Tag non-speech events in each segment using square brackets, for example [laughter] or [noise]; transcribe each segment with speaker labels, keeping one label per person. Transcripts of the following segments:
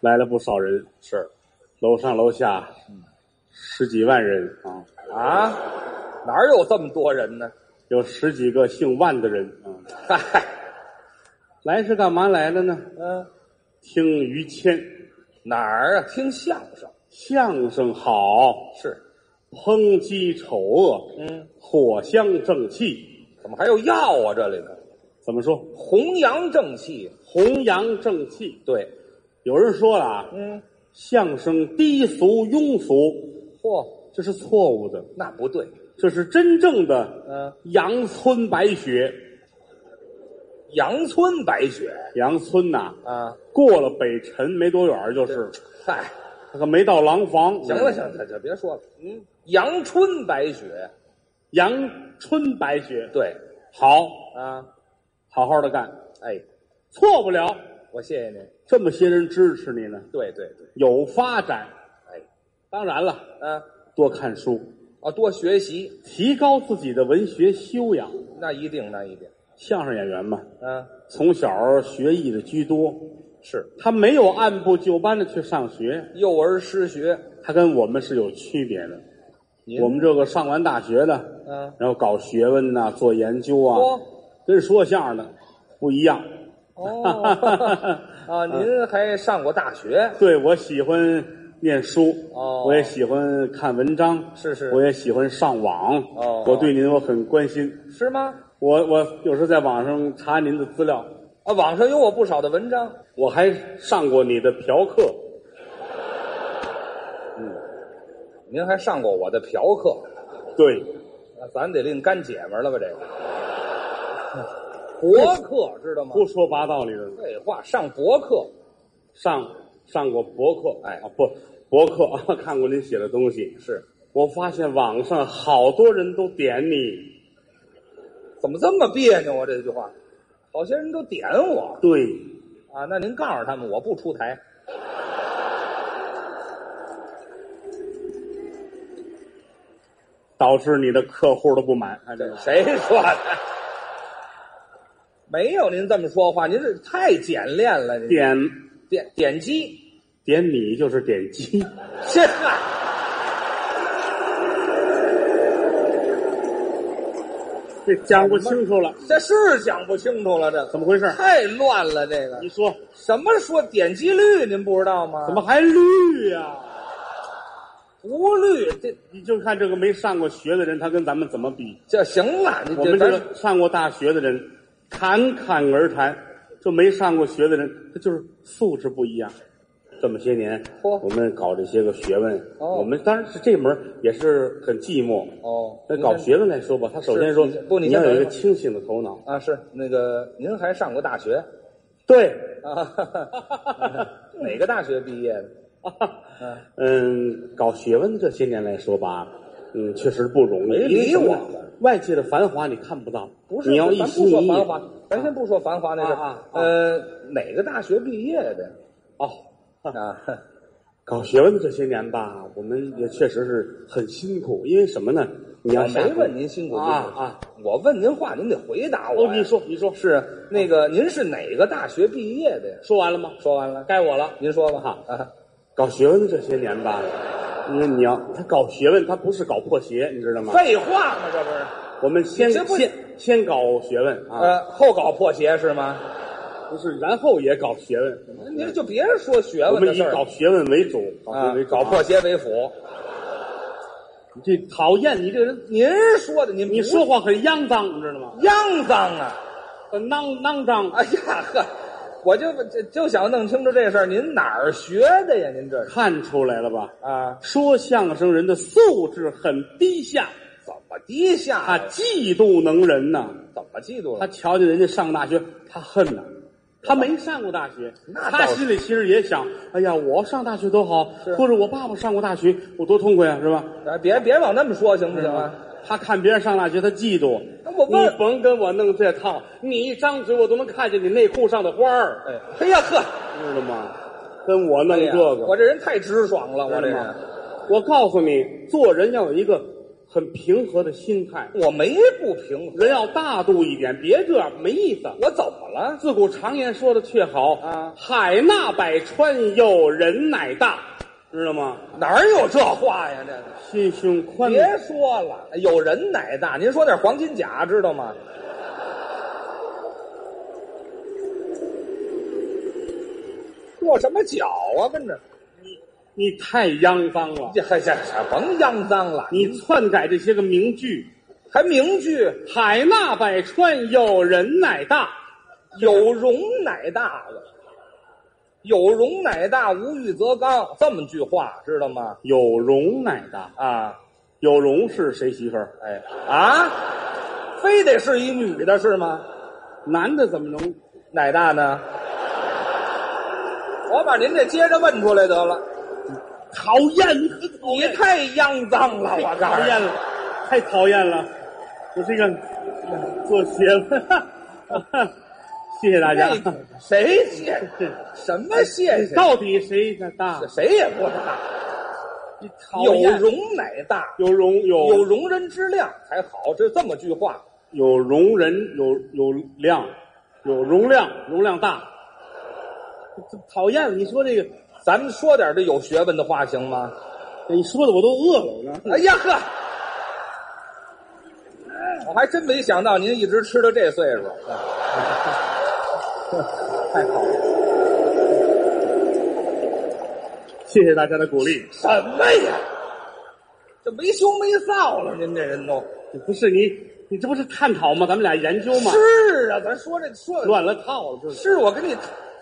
Speaker 1: 来了不少人，
Speaker 2: 是
Speaker 1: 楼上楼下十几万人啊，
Speaker 2: 啊，哪儿有这么多人呢？
Speaker 1: 有十几个姓万的人啊。
Speaker 2: 嗨，
Speaker 1: 来是干嘛来了呢？
Speaker 2: 嗯、
Speaker 1: 听于谦
Speaker 2: 哪儿啊？听相声
Speaker 1: 相声好，
Speaker 2: 是，
Speaker 1: 抨击丑恶，
Speaker 2: 嗯，
Speaker 1: 火香正气。
Speaker 2: 怎么还有药啊？这里呢，
Speaker 1: 怎么说？
Speaker 2: 弘扬正气。
Speaker 1: 弘扬正气。
Speaker 2: 对，
Speaker 1: 有人说了啊，
Speaker 2: 嗯，
Speaker 1: 相声低俗庸俗，
Speaker 2: 嚯，
Speaker 1: 这是错误的，
Speaker 2: 那不对，
Speaker 1: 这是真正的
Speaker 2: 嗯、
Speaker 1: 阳春白雪。
Speaker 2: 阳春白雪
Speaker 1: 阳春呐、
Speaker 2: 啊，
Speaker 1: 过了北辰没多远儿就是，
Speaker 2: 嗨，
Speaker 1: 他可没到廊坊。
Speaker 2: 行了，行了，行了，别说了，嗯，阳春白雪，
Speaker 1: 阳春白雪，
Speaker 2: 对
Speaker 1: 好，
Speaker 2: 啊，
Speaker 1: 好好的干，
Speaker 2: 哎，
Speaker 1: 错不了。
Speaker 2: 我谢谢您，
Speaker 1: 这么些人支持你呢，
Speaker 2: 对对对，
Speaker 1: 有发展。
Speaker 2: 哎，
Speaker 1: 当然了，
Speaker 2: 啊
Speaker 1: 多看书，
Speaker 2: 啊，多学习，
Speaker 1: 提高自己的文学修养。
Speaker 2: 那一定那一定，
Speaker 1: 相声演员嘛，
Speaker 2: 啊，
Speaker 1: 从小学艺的居多，
Speaker 2: 是
Speaker 1: 他没有按部就班的去上学，
Speaker 2: 幼儿失学，
Speaker 1: 他跟我们是有区别的。
Speaker 2: 您
Speaker 1: 我们这个上完大学的，
Speaker 2: 嗯
Speaker 1: 然后搞学问呐、做研究啊，
Speaker 2: 哦
Speaker 1: 跟说相声的不一样。
Speaker 2: 哦
Speaker 1: [laughs]
Speaker 2: 啊，
Speaker 1: 嗯
Speaker 2: 您还上过大 [laughs] 学？
Speaker 1: 对，我喜欢念书，
Speaker 2: 哦
Speaker 1: 我也喜欢看文章，
Speaker 2: 是是
Speaker 1: 我也喜欢上网。
Speaker 2: 哦
Speaker 1: 我对您我很关心，
Speaker 2: 是吗？
Speaker 1: 我我有时候在网上查您的资料，
Speaker 2: 啊，网上有我不少的文章，
Speaker 1: 我还上过你的嫖课。
Speaker 2: 您还上过我的嫖课，
Speaker 1: 对，
Speaker 2: 那咱得另干姐们儿了吧？这个
Speaker 1: [laughs]
Speaker 2: 博客知道吗？
Speaker 1: 不说八道里的，
Speaker 2: 废话，上博客
Speaker 1: 上上过博客，
Speaker 2: 哎
Speaker 1: 啊不，博客啊， [laughs] 看过您写的东西，
Speaker 2: 是
Speaker 1: 我发现网上好多人都点你，
Speaker 2: 怎么这么别扭啊？这句话，好些人都点我
Speaker 1: 对，
Speaker 2: 啊。那您告诉他们，我不出台。
Speaker 1: 导致你的客户的不满。哎，这
Speaker 2: 这
Speaker 1: 个
Speaker 2: 谁说的？没有您这么说话，您这太简练了。您
Speaker 1: 点
Speaker 2: 点点击，
Speaker 1: 点你就是点击， [laughs]
Speaker 2: 这嗨
Speaker 1: 这讲不清楚了，
Speaker 2: 这是讲不清楚了，这
Speaker 1: 怎么回事？
Speaker 2: 太乱了。这个
Speaker 1: 你说
Speaker 2: 什么说点击率，您不知道吗？
Speaker 1: 怎么还绿呀、
Speaker 2: 无率？这
Speaker 1: 你就看这个没上过学的人，他跟咱们怎么比？
Speaker 2: 这行了，你
Speaker 1: 我们这
Speaker 2: 咱
Speaker 1: 个上过大学的人，侃侃而谈；这没上过学的人，他就是素质不一样。这么些年，
Speaker 2: 嚯
Speaker 1: 我们搞这些个学问，
Speaker 2: 哦
Speaker 1: 我们当然是这门儿也是很寂寞。
Speaker 2: 哦，
Speaker 1: 那搞学问来说吧，他首先
Speaker 2: 是
Speaker 1: 说
Speaker 2: 你先不你
Speaker 1: 要
Speaker 2: 先
Speaker 1: 有一个
Speaker 2: 等一会儿
Speaker 1: 清醒的头脑。
Speaker 2: 啊，是那个您还上过大学
Speaker 1: 对，
Speaker 2: 啊？ [laughs] 哈哈哪个大学毕业的？
Speaker 1: 嗯，搞学问这些年来说吧，嗯，确实不容易。
Speaker 2: 没
Speaker 1: 因为
Speaker 2: 理
Speaker 1: 什么
Speaker 2: 我
Speaker 1: 呢
Speaker 2: 们
Speaker 1: 外界的繁华你看不到，
Speaker 2: 不是，
Speaker 1: 你要一
Speaker 2: 咱不
Speaker 1: 心一
Speaker 2: 说
Speaker 1: 意
Speaker 2: 繁华，咱先不说繁华那事儿
Speaker 1: 啊啊啊
Speaker 2: 呃，哪个大学毕业的
Speaker 1: 哦。
Speaker 2: 啊？ [laughs]
Speaker 1: 搞学问的这些年吧，我们也确实是很辛苦，因为什么呢？你要
Speaker 2: 我
Speaker 1: 下
Speaker 2: 哦没问您辛苦不辛苦
Speaker 1: 啊啊！
Speaker 2: 我问您话，您得回答我呀。
Speaker 1: 哦，你说你说
Speaker 2: 是那个您是哪个大学毕业的呀？
Speaker 1: 说完了吗？
Speaker 2: 说完了，
Speaker 1: 该我了。
Speaker 2: 您说吧。
Speaker 1: 哈 [laughs]
Speaker 2: 啊，
Speaker 1: 搞学问的这些年吧，因为你要他搞学问，他不是搞破鞋，你知道吗？
Speaker 2: 废话嘛，这不是？
Speaker 1: 我们先
Speaker 2: 你这不
Speaker 1: 先先搞学问啊，
Speaker 2: 呃，后搞破鞋是吗？
Speaker 1: 不是，然后也搞学问。
Speaker 2: 您就别说学
Speaker 1: 我
Speaker 2: 问
Speaker 1: 们
Speaker 2: 的
Speaker 1: 以
Speaker 2: 事儿
Speaker 1: 搞学问为主，搞学
Speaker 2: 啊
Speaker 1: 问为，主
Speaker 2: 搞
Speaker 1: 啊
Speaker 2: 破鞋为辅。
Speaker 1: 你这讨厌你这人，
Speaker 2: 您说的，您
Speaker 1: 你
Speaker 2: 不
Speaker 1: 说话很肮脏，你知道吗？呃
Speaker 2: 肮脏啊！
Speaker 1: 很肮肮脏。
Speaker 2: 哎呀呵，我就就就想弄清楚这事儿，您哪儿学的呀？您这是
Speaker 1: 看出来了吧？
Speaker 2: 啊，
Speaker 1: 说相声人的素质很低下。
Speaker 2: 怎么低下
Speaker 1: 他
Speaker 2: 呀？
Speaker 1: 嫉妒能人呐，
Speaker 2: 怎么嫉妒
Speaker 1: 他
Speaker 2: 了？
Speaker 1: 瞧见人家上大学，他恨呐。他没上过大学，
Speaker 2: 那
Speaker 1: 他
Speaker 2: 倒是
Speaker 1: 心里其实也想：哎呀，我上大学多好
Speaker 2: 是，
Speaker 1: 或者我爸爸上过大学，我多痛快啊，是吧？
Speaker 2: 哎别别往那么说，行不行啊？
Speaker 1: 他看别人上大学，他嫉妒。
Speaker 2: 那我问
Speaker 1: 你甭跟我弄这套，你一张嘴我都能看见你内裤上的花儿，
Speaker 2: 哎，哎呀呵，
Speaker 1: 知道吗？跟我弄
Speaker 2: 哎
Speaker 1: 嗯这
Speaker 2: 呀
Speaker 1: 个，
Speaker 2: 我这人太直爽了，我这
Speaker 1: 知道
Speaker 2: 人
Speaker 1: 吗？我告诉你，做人要有一个很平和的心态。
Speaker 2: 我没不平衡，
Speaker 1: 人要大度一点，别这样没意思。
Speaker 2: 我怎么了？
Speaker 1: 自古常言说的却好
Speaker 2: 啊
Speaker 1: 海纳百川，有人乃大，知道吗？
Speaker 2: 哪儿有这话呀？这个
Speaker 1: 心胸宽
Speaker 2: 别
Speaker 1: 广，
Speaker 2: 说了，有人奶大。您说那是黄金甲知道吗？过什么脚啊？跟着，
Speaker 1: 你太肮脏了。
Speaker 2: 这这这甭肮脏了，
Speaker 1: 你篡改这些个名句，
Speaker 2: 还名句
Speaker 1: 海纳百川，有人乃大。
Speaker 2: 有容乃大了，有容乃大，无欲则刚，这么句话知道吗？
Speaker 1: 有容乃大，
Speaker 2: 啊，
Speaker 1: 有容是谁媳妇儿？
Speaker 2: 哎啊，非得是一女的是吗？
Speaker 1: 男的怎么能？
Speaker 2: 奶大呢？ [laughs] 我把您这接着问出来得了。
Speaker 1: 讨厌，
Speaker 2: 你太肮脏了，我告
Speaker 1: 讨
Speaker 2: 诉
Speaker 1: 厌了， [laughs] 太讨厌了！我这个做学问，谢谢大家。
Speaker 2: 你。谁谢？
Speaker 1: [laughs]
Speaker 2: 什么谢
Speaker 1: 哎
Speaker 2: 谢？
Speaker 1: 到底谁大？
Speaker 2: 谁也不大，
Speaker 1: 你讨
Speaker 2: 有
Speaker 1: 厌
Speaker 2: 容乃大，
Speaker 1: 有容有
Speaker 2: 有容人之量才好。这这么句话，
Speaker 1: 有容人有有量，有容量容量大。这讨厌，你说这个，
Speaker 2: 咱们说点这有学问的话行吗？
Speaker 1: 你说的我都饿了呢。
Speaker 2: 哎呀呵，我还真没想到您一直吃到这岁数，
Speaker 1: 太好了，谢谢大家的鼓励。
Speaker 2: 什么呀？这没羞没臊了，您这人都
Speaker 1: 不是你，你这不是探讨吗？咱们俩研究吗？
Speaker 2: 是啊，咱说这说
Speaker 1: 乱了套了，这是
Speaker 2: 是我跟你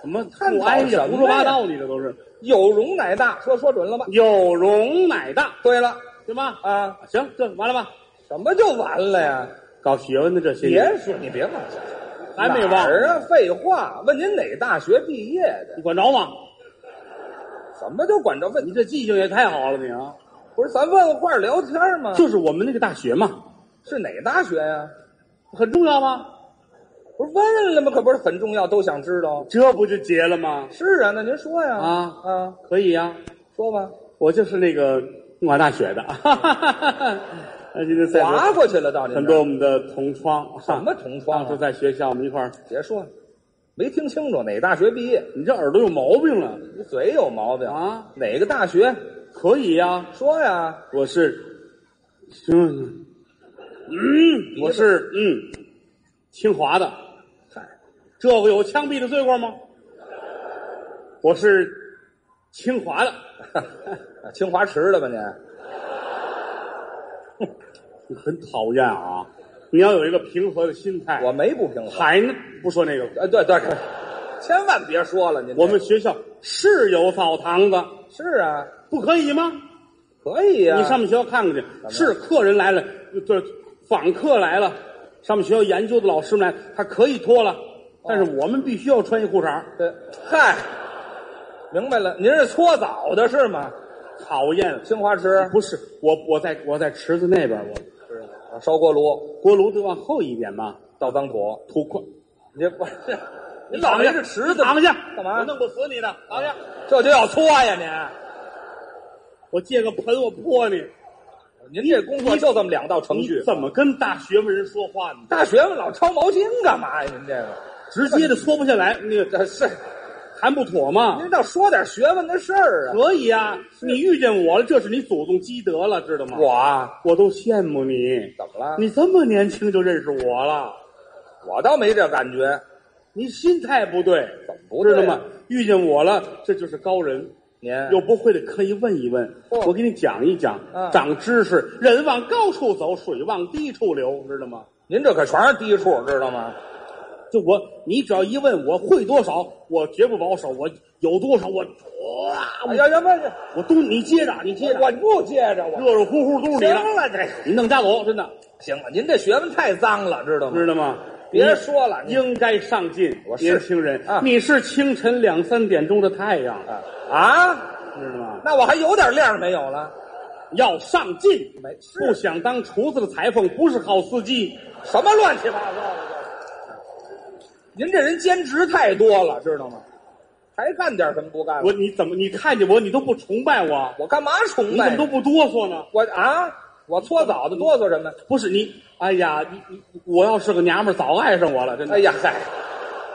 Speaker 1: 怎么
Speaker 2: 探
Speaker 1: 不
Speaker 2: 讨
Speaker 1: 挨
Speaker 2: 什
Speaker 1: 着
Speaker 2: 么呀
Speaker 1: 胡说八道？你这都是
Speaker 2: 有容乃大，说说准了吧？
Speaker 1: 有容乃大，
Speaker 2: 对了
Speaker 1: 对吧？
Speaker 2: 啊，
Speaker 1: 行，这完了吧？
Speaker 2: 什么就完了呀？
Speaker 1: 搞学问的这些
Speaker 2: 别
Speaker 1: 人，
Speaker 2: 说你别忘了，
Speaker 1: 还没忘
Speaker 2: 哪儿啊？废话，问您哪大学毕业的？
Speaker 1: 你管着吗？
Speaker 2: 什么就管这问？
Speaker 1: 你这记性也太好了，你啊！
Speaker 2: 不是咱问话聊天吗？
Speaker 1: 就是我们那个大学嘛，
Speaker 2: 是哪大学呀、
Speaker 1: 很重要吗？
Speaker 2: 不是问了吗？可不是很重要，都想知道。
Speaker 1: 这不就结了吗？
Speaker 2: 是啊，那您说呀？
Speaker 1: 啊
Speaker 2: 啊，
Speaker 1: 可以呀、
Speaker 2: 说吧，
Speaker 1: 我就是那个清华大学的， [laughs] 哈哈哈哈呃今天在这
Speaker 2: 划过去了，到您
Speaker 1: 很
Speaker 2: 这
Speaker 1: 多
Speaker 2: 儿
Speaker 1: 我们的同窗，
Speaker 2: 哦什么同窗
Speaker 1: 当时
Speaker 2: 啊？
Speaker 1: 在学校我们一块儿，
Speaker 2: 别说了，没听清楚哪大学毕业，
Speaker 1: 你这耳朵有毛病了
Speaker 2: 你嘴有毛病？
Speaker 1: 啊？
Speaker 2: 哪个大学？
Speaker 1: 可以呀、
Speaker 2: 说呀，
Speaker 1: 我是，嗯，嗯，我是嗯，清华的，
Speaker 2: 嗨， [laughs]
Speaker 1: 这个有枪毙的罪过吗？我是清华的，
Speaker 2: 啊清华池的吧您？
Speaker 1: 你很讨厌啊！你要有一个平和的心态。
Speaker 2: 我没不平衡。
Speaker 1: 还呢不说那个了，
Speaker 2: 哎，对 [laughs] 对，千万别说了，您这
Speaker 1: 我们学校是有澡堂子，
Speaker 2: 是啊，
Speaker 1: 不可以吗？
Speaker 2: 可以呀、
Speaker 1: 你上我们学校看看去，是客人来了，对，访客来了，上我们学校研究的老师们来，他可以脱了，
Speaker 2: 哦
Speaker 1: 但是我们必须要穿一裤衩儿，
Speaker 2: 对，嗨，明白了，您是搓澡的是吗？
Speaker 1: 讨厌。
Speaker 2: 青花池
Speaker 1: 不是我，我在我在池子那边，我
Speaker 2: 是啊烧锅炉
Speaker 1: 锅炉得往后一点嘛，
Speaker 2: 倒脏土，
Speaker 1: 土块。
Speaker 2: 你这
Speaker 1: [laughs]
Speaker 2: 不是你老没是池子，
Speaker 1: 躺下，
Speaker 2: 干嘛
Speaker 1: 我弄不死你的，躺下。
Speaker 2: 这就要搓呀
Speaker 1: 我借个盆，我泼你。
Speaker 2: 您！您这工作就这么两道程
Speaker 1: 你
Speaker 2: 序，
Speaker 1: 怎么跟大学问人说话
Speaker 2: [laughs]
Speaker 1: 呢？
Speaker 2: 大学问老抄毛巾干嘛呀？您这个
Speaker 1: 直接的搓不下来，那个
Speaker 2: 这是
Speaker 1: 还不妥吗？
Speaker 2: 您倒说点学问的事儿啊！
Speaker 1: 可以啊，你遇见我了，这是你祖宗积德了，知道吗？
Speaker 2: 我啊
Speaker 1: 我都羡慕你，
Speaker 2: 怎么了？
Speaker 1: 你这么年轻就认识我了，
Speaker 2: 我倒没这感觉，
Speaker 1: 你心态不对，
Speaker 2: 怎么不
Speaker 1: 知
Speaker 2: 对
Speaker 1: 道
Speaker 2: 啊
Speaker 1: 吗？？遇见我了，这就是高人。
Speaker 2: 您
Speaker 1: 有不会的可以问一问，
Speaker 2: 哦
Speaker 1: 我给你讲一讲，
Speaker 2: 嗯
Speaker 1: 长知识。人往高处走，水往低处流，知道吗？
Speaker 2: 您这可全是低处，知道吗？
Speaker 1: 就我，你只要一问我会多少，我绝不保守，我有多少我哇，
Speaker 2: 哎呀，要不然
Speaker 1: 我都你接着，你接着，
Speaker 2: 我不接着我。
Speaker 1: 热热乎乎都是你
Speaker 2: 行
Speaker 1: 的，
Speaker 2: 了，这
Speaker 1: 你弄家走，真的，
Speaker 2: 行了，您这学问太脏了，知道吗？
Speaker 1: 知道吗？
Speaker 2: 别说了，您
Speaker 1: 应该上进，
Speaker 2: 我是
Speaker 1: 年轻人，
Speaker 2: 啊
Speaker 1: 你是清晨两三点钟的太阳，
Speaker 2: 啊啊，
Speaker 1: 知道吗？
Speaker 2: 那我还有点量没有了？
Speaker 1: 要上进，
Speaker 2: 没是
Speaker 1: 不想当厨子的裁缝不是好司机。
Speaker 2: 什么乱七八糟的？您这人兼职太多了，知道吗？还干点什么不干了？
Speaker 1: 我你怎么你看见我你都不崇拜我，
Speaker 2: 我干嘛崇
Speaker 1: 你怎
Speaker 2: 拜
Speaker 1: 么都不哆嗦呢？
Speaker 2: 我啊？我搓澡的哆嗦什么？
Speaker 1: 不是你，哎呀，你你我要是个娘们儿，早爱上我了，真的。
Speaker 2: [laughs] 哎呀嗨，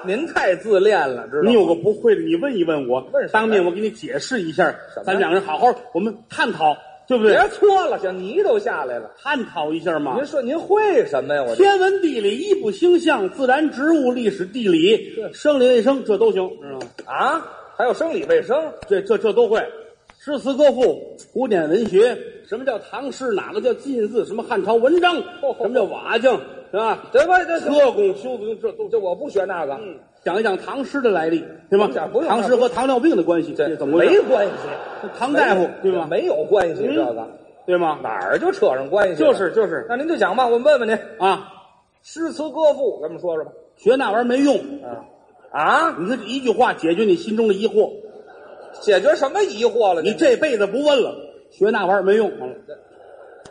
Speaker 2: 您太自恋了，知道吗？
Speaker 1: 你有个不会的，你问一问我，
Speaker 2: 问什么呀
Speaker 1: 当面我给你解释一下
Speaker 2: 什么呀，
Speaker 1: 咱两个人好好我们探讨，对不对？
Speaker 2: 别搓了，行，泥都下来了。
Speaker 1: 探讨一下嘛
Speaker 2: 您。说您会什么呀？我这
Speaker 1: 天文、地理、医卜、星象、自然、植物、历史、地理
Speaker 2: 对、
Speaker 1: 生理卫生，这都行，知道吗？
Speaker 2: 啊，还有生理卫生，
Speaker 1: 这这这都会。诗词歌赋、古典文学，什么叫唐诗？哪个叫近似？什么汉朝文章？
Speaker 2: 嚯嚯
Speaker 1: 什么叫瓦匠？是吧？
Speaker 2: 对吧？这这
Speaker 1: 车工、修子，这都
Speaker 2: 这我不学那个，
Speaker 1: 嗯，讲一讲唐诗的来历，对吗
Speaker 2: 不哦讲不？用
Speaker 1: 唐诗和糖尿病的关系，这怎么回
Speaker 2: 没
Speaker 1: 事？
Speaker 2: 关系？
Speaker 1: 唐大夫对吗？
Speaker 2: 没有关系，
Speaker 1: 嗯
Speaker 2: 这个
Speaker 1: 对吗？
Speaker 2: 哪儿就扯上关系了？
Speaker 1: 就是就是
Speaker 2: 那您就讲吧，我问问您，
Speaker 1: 啊，
Speaker 2: 诗词歌赋，咱们说说吧。
Speaker 1: 学那玩意儿没用。
Speaker 2: 嗯，啊，
Speaker 1: 你说这一句话解决你心中的疑惑，
Speaker 2: 解决什么疑惑了？
Speaker 1: 你
Speaker 2: 您
Speaker 1: 这辈子不问了，学那玩意儿没用。好
Speaker 2: 嗯
Speaker 1: 了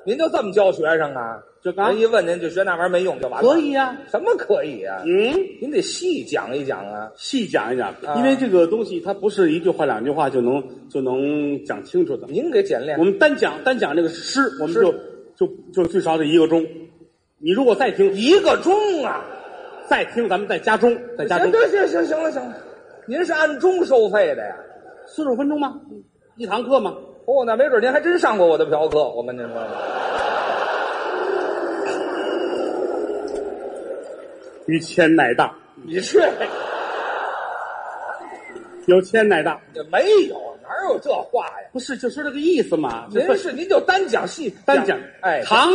Speaker 2: 您就这么教学生啊？
Speaker 1: 这刚
Speaker 2: 人一问您就学那玩意儿没用就完了？
Speaker 1: 可以呀、
Speaker 2: 什么可以啊？
Speaker 1: 嗯，
Speaker 2: 您得细讲一讲啊。
Speaker 1: 细讲一讲，
Speaker 2: 啊
Speaker 1: 因为这个东西它不是一句话两句话就能就能讲清楚的。
Speaker 2: 您给简练
Speaker 1: 我，们单讲单讲这个诗，我们
Speaker 2: 诗
Speaker 1: 就就就最少得一个钟。你如果再听
Speaker 2: 一个钟啊。
Speaker 1: 再听，咱们再加钟，再加
Speaker 2: 行
Speaker 1: 钟，
Speaker 2: 行行行行了行了，您是按钟收费的呀？
Speaker 1: 四十五分钟吗？一堂课吗？
Speaker 2: 哦，那没准您还真上过我的嫖课，我跟您说。
Speaker 1: 于谦乃大，
Speaker 2: 你去，
Speaker 1: 有谦乃大，
Speaker 2: 这没有，哪有这话呀？
Speaker 1: 不是就是这个意思嘛？这
Speaker 2: 您是您就单讲戏，
Speaker 1: 单讲，
Speaker 2: 哎，
Speaker 1: 唐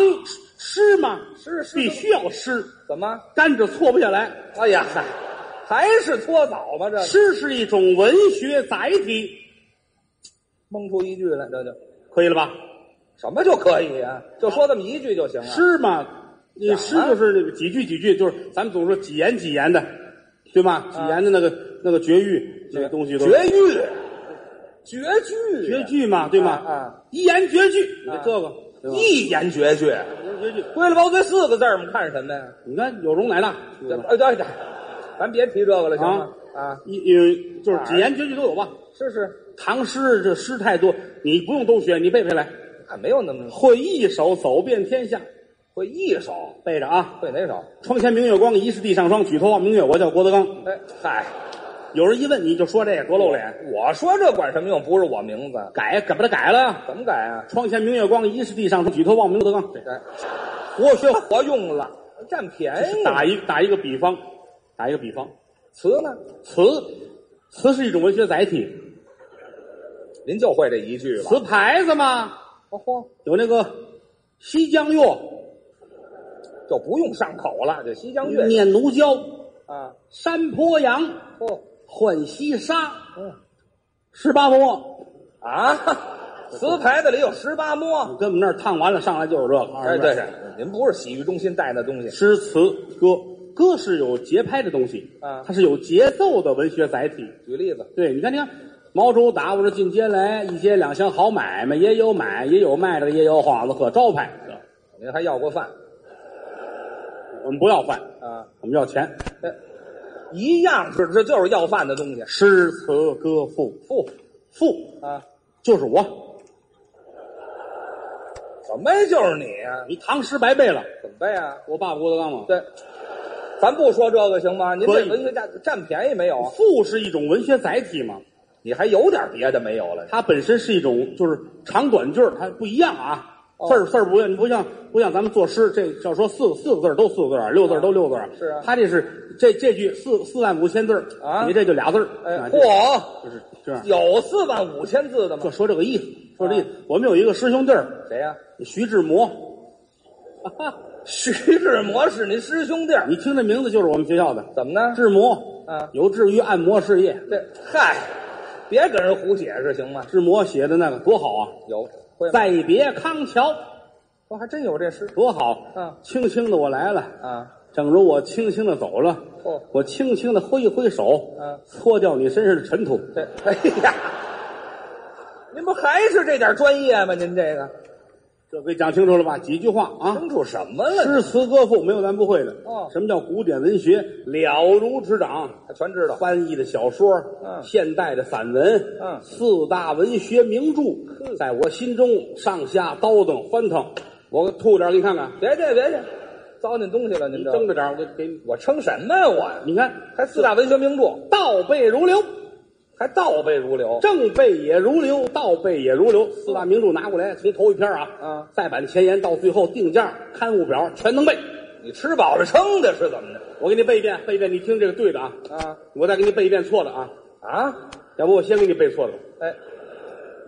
Speaker 1: 诗嘛，
Speaker 2: 是是
Speaker 1: 必须要诗，
Speaker 2: 怎么？
Speaker 1: 甘蔗错不下来。
Speaker 2: 哎呀，嗨，还是搓澡吧？这
Speaker 1: 诗是一种文学载体，
Speaker 2: 蒙出一句来，这就
Speaker 1: 可以了吧？
Speaker 2: 什么就可以啊？就说这么一句就行了。
Speaker 1: 诗嘛，你
Speaker 2: 啊
Speaker 1: 诗就是那个几句几句，就是咱们总说几言几言的，对吧？几言的那个那个绝句，这个东西都
Speaker 2: 啊绝句，绝句，
Speaker 1: 绝，句嘛，对
Speaker 2: 啊
Speaker 1: 吗
Speaker 2: 啊？
Speaker 1: 一言绝句，你
Speaker 2: 啊
Speaker 1: 看这个对吧
Speaker 2: 一言绝句，
Speaker 1: 一言绝句，
Speaker 2: 归了包堆四个字儿，我们看什么呀？
Speaker 1: 你看有容乃大，
Speaker 2: 这哎对对，咱别提这个了，行吗？啊，
Speaker 1: 一呃就是几言绝句都有吧？
Speaker 2: 是是，
Speaker 1: 唐诗这诗太多，你不用都学，你背背来，
Speaker 2: 啊，没有那么
Speaker 1: 会一首走遍天下，
Speaker 2: 会一首，
Speaker 1: 背着啊。
Speaker 2: 会哪首？
Speaker 1: 窗前明月光，疑是地上霜。举头望明月，我叫郭德纲。
Speaker 2: 哎嗨，
Speaker 1: 有人一问你就说这个，多露脸。
Speaker 2: 我说这管什么用？不是我名字，
Speaker 1: 改改把它改了。
Speaker 2: 怎么改啊？
Speaker 1: 窗前明月光，疑是地上霜。举头望明月，郭德纲。对
Speaker 2: 哎，
Speaker 1: 活学
Speaker 2: 活用了，占便宜。
Speaker 1: 打一打一个比方，打一个比方，
Speaker 2: 词呢？
Speaker 1: 词，词是一种文学载体，
Speaker 2: 您就会这一句吧？哦
Speaker 1: 词牌子嘛，
Speaker 2: 嚯嚯，
Speaker 1: 有那个《西江月》
Speaker 2: 就不用上口了，就西江月
Speaker 1: 《念奴娇》《
Speaker 2: 啊，哦
Speaker 1: 山坡羊》《
Speaker 2: 嚯，
Speaker 1: 浣溪沙》《
Speaker 2: 嗯
Speaker 1: 十八摸
Speaker 2: 啊，词牌子里有十八》，摸。
Speaker 1: 跟我们那儿烫完了，上来就有这个。
Speaker 2: 哎，对，对，您不是洗浴中心带的东西，
Speaker 1: 诗词歌，歌是有节拍的东西，
Speaker 2: 啊
Speaker 1: 它是有节奏的文学载体。
Speaker 2: 举例子，
Speaker 1: 对，你看，你看，毛主打我这进街来，一街两厢好买卖，也有买，也有卖的，也有幌子和招牌。
Speaker 2: 您还要过饭
Speaker 1: 我们不要饭，
Speaker 2: 啊？
Speaker 1: 我们要钱。
Speaker 2: 哎，一样是这就是要饭的东西。
Speaker 1: 诗词歌赋，
Speaker 2: 不
Speaker 1: 赋
Speaker 2: 啊，
Speaker 1: 就是我，
Speaker 2: 什么呀？就是你啊？
Speaker 1: 你唐诗白背了。
Speaker 2: 怎么背啊？
Speaker 1: 我爸爸郭德纲嘛，
Speaker 2: 对，咱不说这个行吗？您
Speaker 1: 可
Speaker 2: 这
Speaker 1: 以
Speaker 2: 文学家占便宜没有啊？
Speaker 1: 赋是一种文学载体嘛，
Speaker 2: 你还有点别的没有了？
Speaker 1: 它本身是一种就是长短句儿，它不一样啊。
Speaker 2: 哦
Speaker 1: 字儿字儿不一样，不像不像咱们作诗，这要说四个四个字儿都四个字儿，六字儿都六字儿。
Speaker 2: 是啊
Speaker 1: 他这是这这句四四万五千字儿
Speaker 2: 啊
Speaker 1: 你这就俩字儿。
Speaker 2: 哎，
Speaker 1: 啊
Speaker 2: 嚯，
Speaker 1: 就是这样，
Speaker 2: 有四万五千字的
Speaker 1: 就
Speaker 2: 吗？
Speaker 1: 说这个意思，说这意思。我们有一个师兄弟儿，
Speaker 2: 谁呀、
Speaker 1: 徐志摩，
Speaker 2: 徐志摩是您师兄弟儿？
Speaker 1: 你听这名字就是我们学校的
Speaker 2: 怎么呢？
Speaker 1: 志摩，
Speaker 2: 啊
Speaker 1: 有志于按摩事业。
Speaker 2: 这嗨，别给人胡解释行吗？
Speaker 1: 志摩写的那个多好啊！
Speaker 2: 有会吗？哦
Speaker 1: 再别康桥，
Speaker 2: 我还真有这诗
Speaker 1: 多好！
Speaker 2: 嗯
Speaker 1: 轻轻的我来了，
Speaker 2: 啊！
Speaker 1: 正如我轻轻的走了，
Speaker 2: 哦
Speaker 1: 我轻轻的挥一挥手，
Speaker 2: 嗯
Speaker 1: 搓掉你身上的尘土。
Speaker 2: 这哎呀， [laughs] 您不还是这点专业吗？您这个
Speaker 1: 这给讲清楚了吧？几句话啊
Speaker 2: 清？楚什么了？
Speaker 1: 诗词歌赋没有咱不会的。
Speaker 2: 哦
Speaker 1: 什么叫古典文学？了如指掌。
Speaker 2: 他全知道。
Speaker 1: 翻译的小说，
Speaker 2: 嗯
Speaker 1: 现代的散文，
Speaker 2: 嗯
Speaker 1: 四大文学名著，在我心中上下叨腾翻腾，我吐点儿给你看看，
Speaker 2: 别去别去，糟践东西了，您
Speaker 1: 你
Speaker 2: 这
Speaker 1: 睁着点儿，我给给你，
Speaker 2: 我称什么呀我？
Speaker 1: 你看
Speaker 2: 还四大文学名著，
Speaker 1: 倒背如流，
Speaker 2: 还倒背如流。
Speaker 1: 正背也如流，倒背也如流，四大名著拿过来，从头一篇啊，
Speaker 2: 啊，
Speaker 1: 再版前言到最后定价、刊物表全能背。
Speaker 2: 你吃饱了撑的是怎么的？
Speaker 1: 我给你背一遍，背一遍，你听这个对的啊，
Speaker 2: 啊
Speaker 1: 我再给你背一遍错的啊，
Speaker 2: 啊，
Speaker 1: 要不我先给你背错的，
Speaker 2: 哎，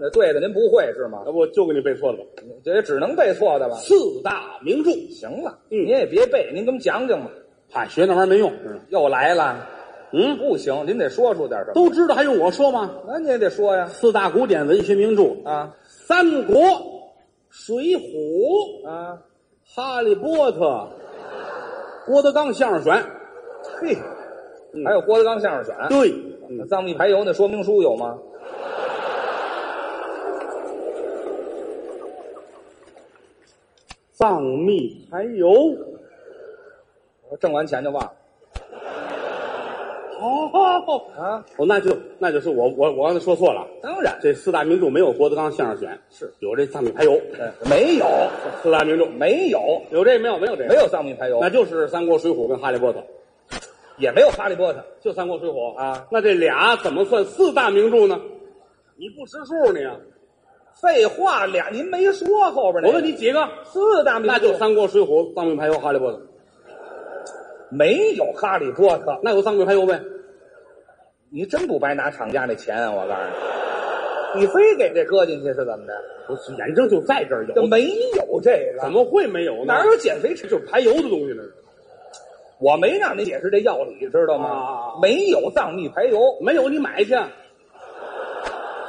Speaker 2: 那对的您不会是吗？
Speaker 1: 要不我就给你背错的吧。
Speaker 2: 这也只能背错的吧？
Speaker 1: 四大名著，
Speaker 2: 行了，
Speaker 1: 嗯
Speaker 2: 您也别背，您给我们讲讲吧。
Speaker 1: 嗨，学那玩意儿没用，是吧
Speaker 2: 又来了，
Speaker 1: 嗯，
Speaker 2: 不行，您得说出点什么。
Speaker 1: 都知道还用我说吗？
Speaker 2: 那你也得说呀，
Speaker 1: 四大古典文学名著，《
Speaker 2: 啊
Speaker 1: 三国》《水浒》《
Speaker 2: 啊，
Speaker 1: 哈利波特》，郭德纲相声选，
Speaker 2: 嘿，
Speaker 1: 嗯
Speaker 2: 还有郭德纲相声选，
Speaker 1: 对，
Speaker 2: 那
Speaker 1: 嗯
Speaker 2: 藏地排油那说明书有吗？
Speaker 1: 藏秘排油，
Speaker 2: 我挣完钱就忘了
Speaker 1: 哦，
Speaker 2: 啊。
Speaker 1: 哦，那就那就是我我我刚才说错了，
Speaker 2: 当然，
Speaker 1: 这四大名著没有郭德纲相声选，
Speaker 2: 是
Speaker 1: 有这藏秘排油，
Speaker 2: 哎没有，
Speaker 1: 四大名著
Speaker 2: 没有，
Speaker 1: 有这没有没有这
Speaker 2: 没，有藏地排油
Speaker 1: 那，就是《三国》《水浒》跟《哈利波特》，
Speaker 2: 也没有哈利波特。
Speaker 1: 就《三国》《水浒》
Speaker 2: 啊
Speaker 1: 那这俩怎么算四大名著呢？你不识数你啊！
Speaker 2: 废话，俩您没说后边那
Speaker 1: 我
Speaker 2: 个
Speaker 1: 问你几个？
Speaker 2: 四大名著
Speaker 1: 那就《三国》《水浒》《藏秘排油》《哈利波特》，
Speaker 2: 没有哈利波特，
Speaker 1: 那有《藏秘排油》呗？
Speaker 2: 你真不白拿厂家那钱啊！我告诉你，你非给这搁进去是怎么的？
Speaker 1: 不是，眼睁就在这儿
Speaker 2: 这
Speaker 1: 有，
Speaker 2: 没有这个，
Speaker 1: 怎么会没有呢？
Speaker 2: 哪有减肥吃？
Speaker 1: 就是排油的东西呢？
Speaker 2: 我没让您解释这要理，知道吗？
Speaker 1: 啊
Speaker 2: 没有藏秘排油，
Speaker 1: 没有你买去，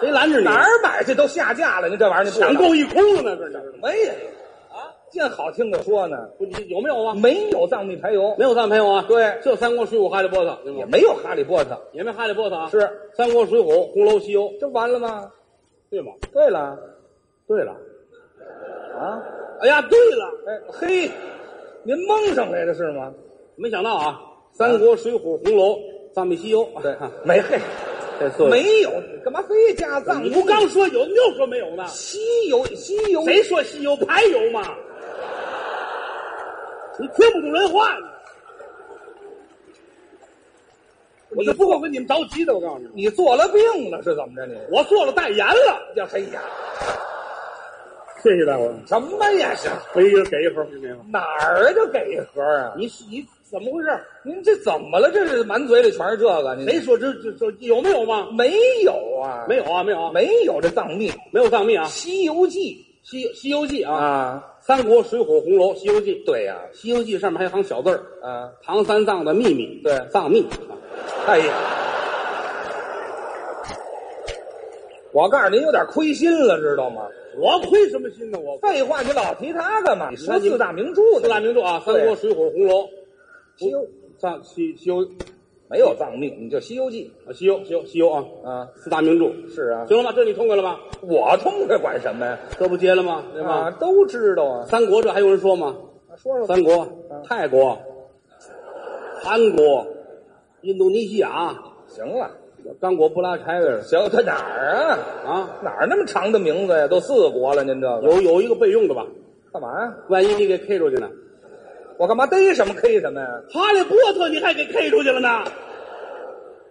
Speaker 1: 谁拦着你？
Speaker 2: 哪儿买去都下架了。您这玩意儿，您不知道
Speaker 1: 抢购一空了呢？这是
Speaker 2: 没有啊？见好听的说呢，
Speaker 1: 不你有没有啊？
Speaker 2: 没有藏秘排油，
Speaker 1: 没有藏秘排油啊？
Speaker 2: 对
Speaker 1: 就《三国》《水浒》《哈利波特》对
Speaker 2: 也
Speaker 1: 吗，
Speaker 2: 没有哈利波特，
Speaker 1: 也没《哈利波特》啊？
Speaker 2: 是
Speaker 1: 《三国》《水浒》《红楼西游》，
Speaker 2: 这完了吗？
Speaker 1: 对吗？
Speaker 2: 对了
Speaker 1: 对了，
Speaker 2: 啊，
Speaker 1: 哎呀，对了，
Speaker 2: 哎嘿，您蒙上来的是吗？
Speaker 1: 没想到啊，《三国》《水浒》《红楼》《藏秘西游》，
Speaker 2: 对没嘿，
Speaker 1: 这四
Speaker 2: 没有，你干嘛非加藏？
Speaker 1: 你不刚说有，你又说没有呢？
Speaker 2: 西游西游？
Speaker 1: 谁说西游排油嘛？你听不懂人话呢！我就不够跟你们着急的，我告诉你们，
Speaker 2: 你做了病了是怎么着你？
Speaker 1: 我做了代言了。
Speaker 2: 呀嘿呀，
Speaker 1: 谢谢大伙儿，
Speaker 2: 什么呀是？
Speaker 1: 我一人给一盒，给一盒。
Speaker 2: 哪儿啊？就给一盒啊？
Speaker 1: 你是你怎么回事？
Speaker 2: 您这怎么了？这是满嘴里全是这个？您
Speaker 1: 谁说这这这有没有嘛？
Speaker 2: 没有啊？
Speaker 1: 没有啊，没有啊，
Speaker 2: 没有这藏秘《
Speaker 1: 没有藏秘啊，《
Speaker 2: 西游记
Speaker 1: 西西游记》》啊，
Speaker 2: 啊？
Speaker 1: 三国》《水浒》《红楼》《西游记》。
Speaker 2: 对呀
Speaker 1: 《西游记》上面还有行小字儿，
Speaker 2: 啊，
Speaker 1: 唐三藏的秘密，
Speaker 2: 对
Speaker 1: 藏秘。
Speaker 2: 哎呀，我告诉您，有点亏心了，知道吗？
Speaker 1: 我亏什么心呢？我
Speaker 2: 废话，你老提它干嘛？你说
Speaker 1: 那你
Speaker 2: 四大名著
Speaker 1: 四大
Speaker 2: 呢？
Speaker 1: 名著啊，《三国》《水浒》《红楼》
Speaker 2: 西游
Speaker 1: 藏西西游
Speaker 2: 没有藏秘，你就《西游记
Speaker 1: 啊，西游西游西游啊，》
Speaker 2: 啊？
Speaker 1: 四大名著，
Speaker 2: 是啊，
Speaker 1: 行了吗？这你痛快了吧？
Speaker 2: 我痛快管什么呀？
Speaker 1: 这不结了吗？对
Speaker 2: 对
Speaker 1: 吧？
Speaker 2: 吧？都知道啊。
Speaker 1: 三国这还有人说吗？
Speaker 2: 说说吧
Speaker 1: 三国、泰国、韩国、印度尼西亚、
Speaker 2: 行了，
Speaker 1: 刚果、布拉柴维尔
Speaker 2: 行，这哪儿啊？
Speaker 1: 啊，
Speaker 2: 哪儿那么长的名字呀？都四国了，您这个
Speaker 1: 有有一个备用的吧？
Speaker 2: 干嘛呀？
Speaker 1: 万一你给 K 出去呢？
Speaker 2: 我干嘛逮什么 K 什么呀？
Speaker 1: 哈利波特你还给 K 出去了呢？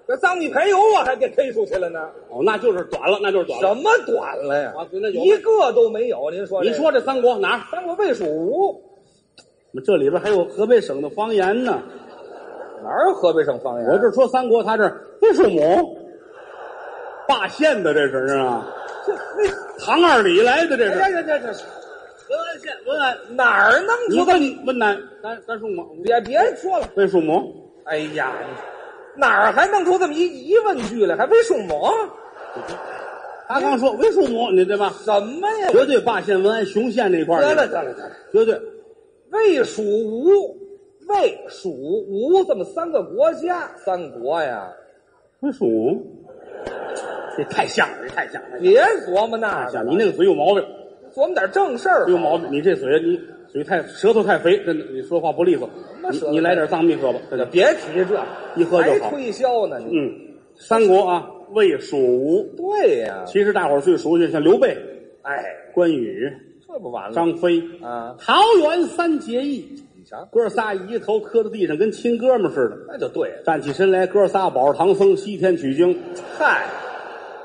Speaker 2: 这藏地排油我还给 K 出去了呢，
Speaker 1: 哦，那就是短了，那就是短了。
Speaker 2: 什么短了呀？
Speaker 1: 啊那有
Speaker 2: 一个都没有，您说这
Speaker 1: 你
Speaker 2: 个
Speaker 1: 说这三国哪儿？
Speaker 2: 三国魏蜀吴
Speaker 1: 这里边还有河北省的方言呢。
Speaker 2: 哪儿有河北省方言？啊
Speaker 1: 我这说三国，他这魏蜀吴，霸县的这是啊，唐二李来的这
Speaker 2: 哎
Speaker 1: 是。
Speaker 2: 呀呀呀呀！
Speaker 1: 文安县，文安，
Speaker 2: 哪儿那么
Speaker 1: 你
Speaker 2: 多
Speaker 1: 问你问南甘甘肃吗？
Speaker 2: 别别说了，
Speaker 1: 魏蜀吴，
Speaker 2: 哎呀，哪儿还弄出这么一疑问句来？还魏蜀吴？
Speaker 1: 他刚说魏蜀吴，你对吧？
Speaker 2: 什么呀？
Speaker 1: 绝对霸县文安雄县这一块儿
Speaker 2: 得
Speaker 1: 的，
Speaker 2: 了得了得了，
Speaker 1: 绝对。
Speaker 2: 魏蜀吴，魏蜀吴这么三个国家，三国呀，
Speaker 1: 魏蜀吴，这太像了，这太像了，
Speaker 2: 别琢磨那
Speaker 1: 太
Speaker 2: 个
Speaker 1: 像了。
Speaker 2: 了，
Speaker 1: 你那个嘴有毛病，
Speaker 2: 琢磨点正事儿
Speaker 1: 哎有。毛病。你这嘴，你嘴太舌头太肥，真的，你说话不利索。
Speaker 2: 么舌头
Speaker 1: 你你来点藏蜜喝吧，真的。
Speaker 2: 别提这，
Speaker 1: 一喝就好
Speaker 2: 还推销呢你？
Speaker 1: 嗯，三国啊，魏蜀吴，
Speaker 2: 对呀、
Speaker 1: 其实大伙儿最熟悉，像刘备、
Speaker 2: 哎，
Speaker 1: 关羽、
Speaker 2: 这不完了？
Speaker 1: 张飞，
Speaker 2: 啊，
Speaker 1: 桃园三结义，
Speaker 2: 你瞧，
Speaker 1: 哥仨一个头磕在地上，跟亲哥们似的。
Speaker 2: 那就对了。
Speaker 1: 站起身来，哥仨保着唐僧西天取经，《
Speaker 2: 嗨，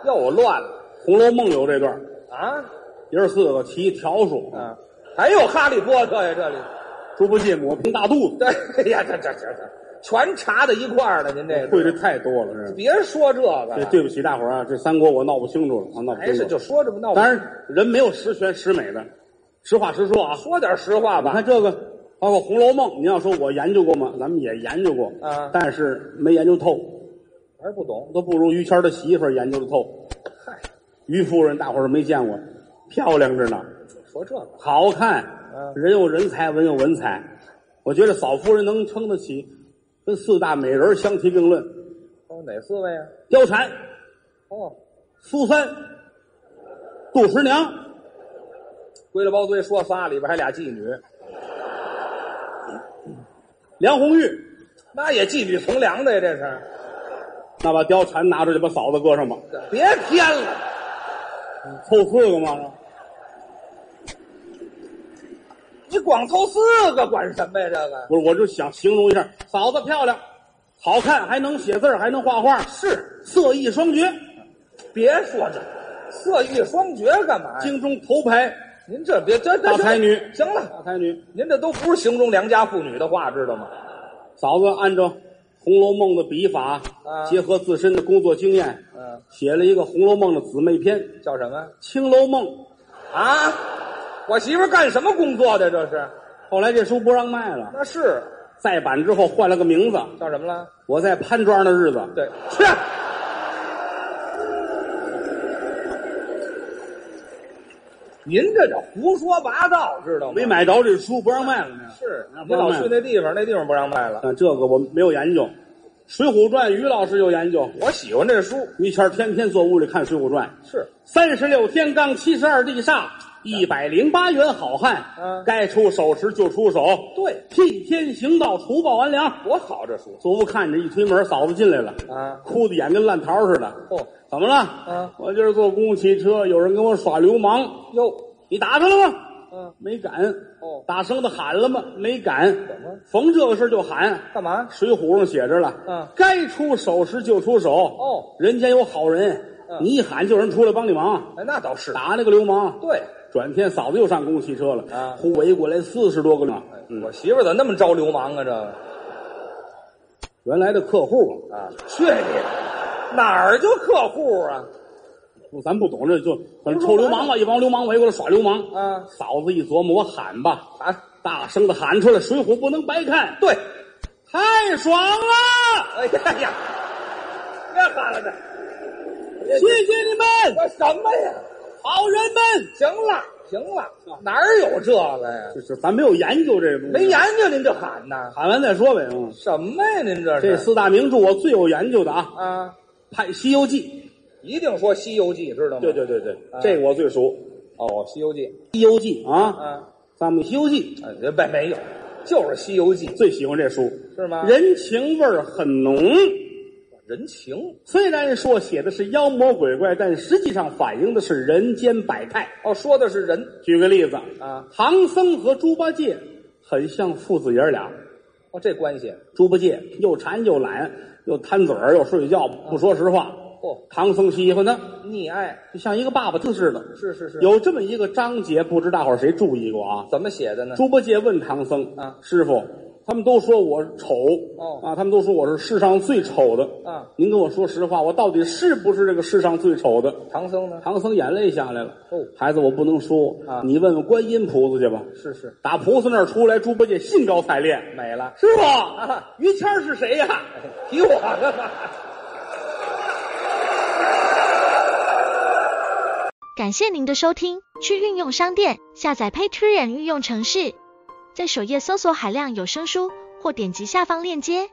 Speaker 2: 要我乱了
Speaker 1: 红楼梦》有这段，
Speaker 2: 啊？
Speaker 1: 爷儿四个骑笤帚，
Speaker 2: 啊，还有哈利波特呀，这里。
Speaker 1: 猪八戒抹平大肚子，
Speaker 2: 对呀，这这这这，全查到一块儿了。您这
Speaker 1: 会
Speaker 2: 个，
Speaker 1: 的太多了，是。
Speaker 2: 别说这个
Speaker 1: 这
Speaker 2: 了，
Speaker 1: 对不起大伙儿啊，这三国我闹不清楚了，啊，闹不
Speaker 2: 还
Speaker 1: 清楚
Speaker 2: 是
Speaker 1: 了。
Speaker 2: 就说这么闹。
Speaker 1: 当然，人没有十全十美的，实话实说啊。
Speaker 2: 说点实话
Speaker 1: 你
Speaker 2: 吧，
Speaker 1: 看这个，包括《红楼梦》，你要说我研究过吗？咱们也研究过，
Speaker 2: 啊
Speaker 1: 但是没研究透，
Speaker 2: 还是不懂。
Speaker 1: 都不如于谦儿的媳妇儿研究的透。
Speaker 2: 嗨，
Speaker 1: 于夫人大伙儿没见过，漂亮着呢，
Speaker 2: 说这个，
Speaker 1: 好看，
Speaker 2: 嗯
Speaker 1: 人有人才，文有文采。我觉得嫂夫人能撑得起，跟四大美人儿相提并论。
Speaker 2: 哦，哪四位啊？
Speaker 1: 貂蝉、
Speaker 2: 哦，
Speaker 1: 苏三、杜十娘，
Speaker 2: 归了包堆说仨，里边还俩妓女，
Speaker 1: 梁红玉，
Speaker 2: 那也妓女从良的呀，这是。
Speaker 1: 那把貂蝉拿出去，把嫂子搁上吧，
Speaker 2: 别偏了，
Speaker 1: 凑四个嘛。
Speaker 2: 你光凑四个管什么呀？这个
Speaker 1: 不是，我就想形容一下，嫂子漂亮，好看，还能写字儿还能画画，
Speaker 2: 是，哎
Speaker 1: 色艺双绝，
Speaker 2: 别说这色艺双绝干嘛呀？
Speaker 1: 京中头牌
Speaker 2: 您这别这
Speaker 1: 大
Speaker 2: 这
Speaker 1: 才女，
Speaker 2: 行了，
Speaker 1: 大才女。
Speaker 2: 您这都不是形容良家妇女的话，知道吗？
Speaker 1: 嫂子按照《红楼梦》的笔法，
Speaker 2: 啊
Speaker 1: 结合自身的工作经验，
Speaker 2: 嗯，
Speaker 1: 写了一个《红楼梦》的姊妹篇《
Speaker 2: 叫什么？
Speaker 1: 青楼梦》。
Speaker 2: 啊，我媳妇儿干什么工作的？这是？
Speaker 1: 后来这书不让卖了，
Speaker 2: 那是
Speaker 1: 再版之后换了个名字。
Speaker 2: 叫什么了？
Speaker 1: 我在潘庄的日子，
Speaker 2: 对，去。您这叫胡说八道，知道吗？
Speaker 1: 没买着这书，不让卖了呢。
Speaker 2: 是
Speaker 1: 啊，不
Speaker 2: 您
Speaker 1: 让
Speaker 2: 老
Speaker 1: 卖了。
Speaker 2: 去那地方，那地方不让卖了。
Speaker 1: 啊，这个我没有研究，《水浒传》于老师有研究。
Speaker 2: 我喜欢这书，
Speaker 1: 于谦儿天天坐屋里看《水浒传》，
Speaker 2: 是
Speaker 1: 三十六天罡，七十二地煞，一百零八员好汉。
Speaker 2: 嗯
Speaker 1: 该出手时就出手，
Speaker 2: 对，
Speaker 1: 替天行道，除暴安良。
Speaker 2: 多好这书
Speaker 1: 左屋看着，一推门，嫂子进来了，
Speaker 2: 啊！
Speaker 1: 哭的眼跟烂桃似的。
Speaker 2: 哦
Speaker 1: 怎么了？
Speaker 2: 嗯
Speaker 1: 我今儿坐公共汽车，有人跟我耍流氓，
Speaker 2: 哟，
Speaker 1: 你打他了吗？
Speaker 2: 嗯，
Speaker 1: 没敢。
Speaker 2: 哦，
Speaker 1: 大声的喊了吗？没敢。
Speaker 2: 怎么
Speaker 1: 逢这个事儿就喊。
Speaker 2: 干嘛？
Speaker 1: 《水浒》上写着了，
Speaker 2: 嗯
Speaker 1: 该出手时就出手。
Speaker 2: 哦，
Speaker 1: 人间有好人，
Speaker 2: 嗯
Speaker 1: 你一喊就有人出来帮你忙，
Speaker 2: 哎，那倒是，
Speaker 1: 打那个流氓。
Speaker 2: 对。
Speaker 1: 转天嫂子又上公共汽车了，
Speaker 2: 啊
Speaker 1: 忽围过来四十多个流氓。嗯，
Speaker 2: 我媳妇儿怎么那么招流氓啊？这个
Speaker 1: 原来的客户
Speaker 2: 啊，去你哪儿就客户啊？
Speaker 1: 啊，咱不懂这就反正臭流氓嘛，一帮流氓围过来耍流氓。
Speaker 2: 啊
Speaker 1: 嫂子一琢磨，我喊吧，
Speaker 2: 啊，
Speaker 1: 大声的喊出来，《水浒》不能白看，
Speaker 2: 对，
Speaker 1: 太爽了！
Speaker 2: 哎呀呀，别喊了这，
Speaker 1: 谢谢你们，
Speaker 2: 说什么呀？
Speaker 1: 好人们。
Speaker 2: 行了行了，哪儿有这个呀？
Speaker 1: 这是咱没有研究这个东西，
Speaker 2: 没研究您就喊呐？
Speaker 1: 喊完再说呗。嗯，
Speaker 2: 什么呀？您这是
Speaker 1: 这四大名著我最有研究的啊，
Speaker 2: 啊，
Speaker 1: 《派西游记
Speaker 2: 一定说《西游记》，知道》吗？
Speaker 1: 对对对
Speaker 2: 啊
Speaker 1: 这个我最熟。
Speaker 2: 哦，《西游记》
Speaker 1: 《西游记》啊，
Speaker 2: 啊，
Speaker 1: 咱们《西游记
Speaker 2: 哎别没有，就是《西游记》》
Speaker 1: 最喜欢这书，
Speaker 2: 是吗？
Speaker 1: 人情味儿很浓。
Speaker 2: 人情
Speaker 1: 虽然说写的是妖魔鬼怪，但实际上反映的是人间百态。
Speaker 2: 哦，说的是人
Speaker 1: 举个例子
Speaker 2: 啊，
Speaker 1: 唐僧和猪八戒很像父子爷儿俩。
Speaker 2: 哦，这关系
Speaker 1: 猪八戒又馋又懒，又贪嘴儿，又睡觉，不说实话。
Speaker 2: 哦
Speaker 1: 唐僧喜欢他，
Speaker 2: 溺爱
Speaker 1: 就像一个爸爸似的。
Speaker 2: 是是是，
Speaker 1: 有这么一个章节，不知大伙儿谁注意过啊？
Speaker 2: 怎么写的呢？
Speaker 1: 猪八戒问唐僧：“
Speaker 2: 啊
Speaker 1: 师傅，他们都说我丑，
Speaker 2: 哦
Speaker 1: 啊，他们都说我是世上最丑的。
Speaker 2: 啊
Speaker 1: 您跟我说实话，我到底是不是这个世上最丑的
Speaker 2: 唐僧？”呢？
Speaker 1: 唐僧眼泪下来了。
Speaker 2: 哦
Speaker 1: 孩子，我不能说
Speaker 2: 啊
Speaker 1: 你问问观音菩萨去吧。
Speaker 2: 是是，
Speaker 1: 打菩萨那儿出来，猪八戒兴高采烈。
Speaker 2: 美了，
Speaker 1: 师傅，
Speaker 2: 啊
Speaker 1: 于谦儿是谁呀、
Speaker 2: [laughs] 提我干嘛？
Speaker 3: 感谢您的收听，去应用商店下载 Patreon 应用城市，在首页搜索海量有声书，或点击下方链接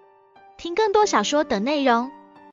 Speaker 3: 听更多小说等内容。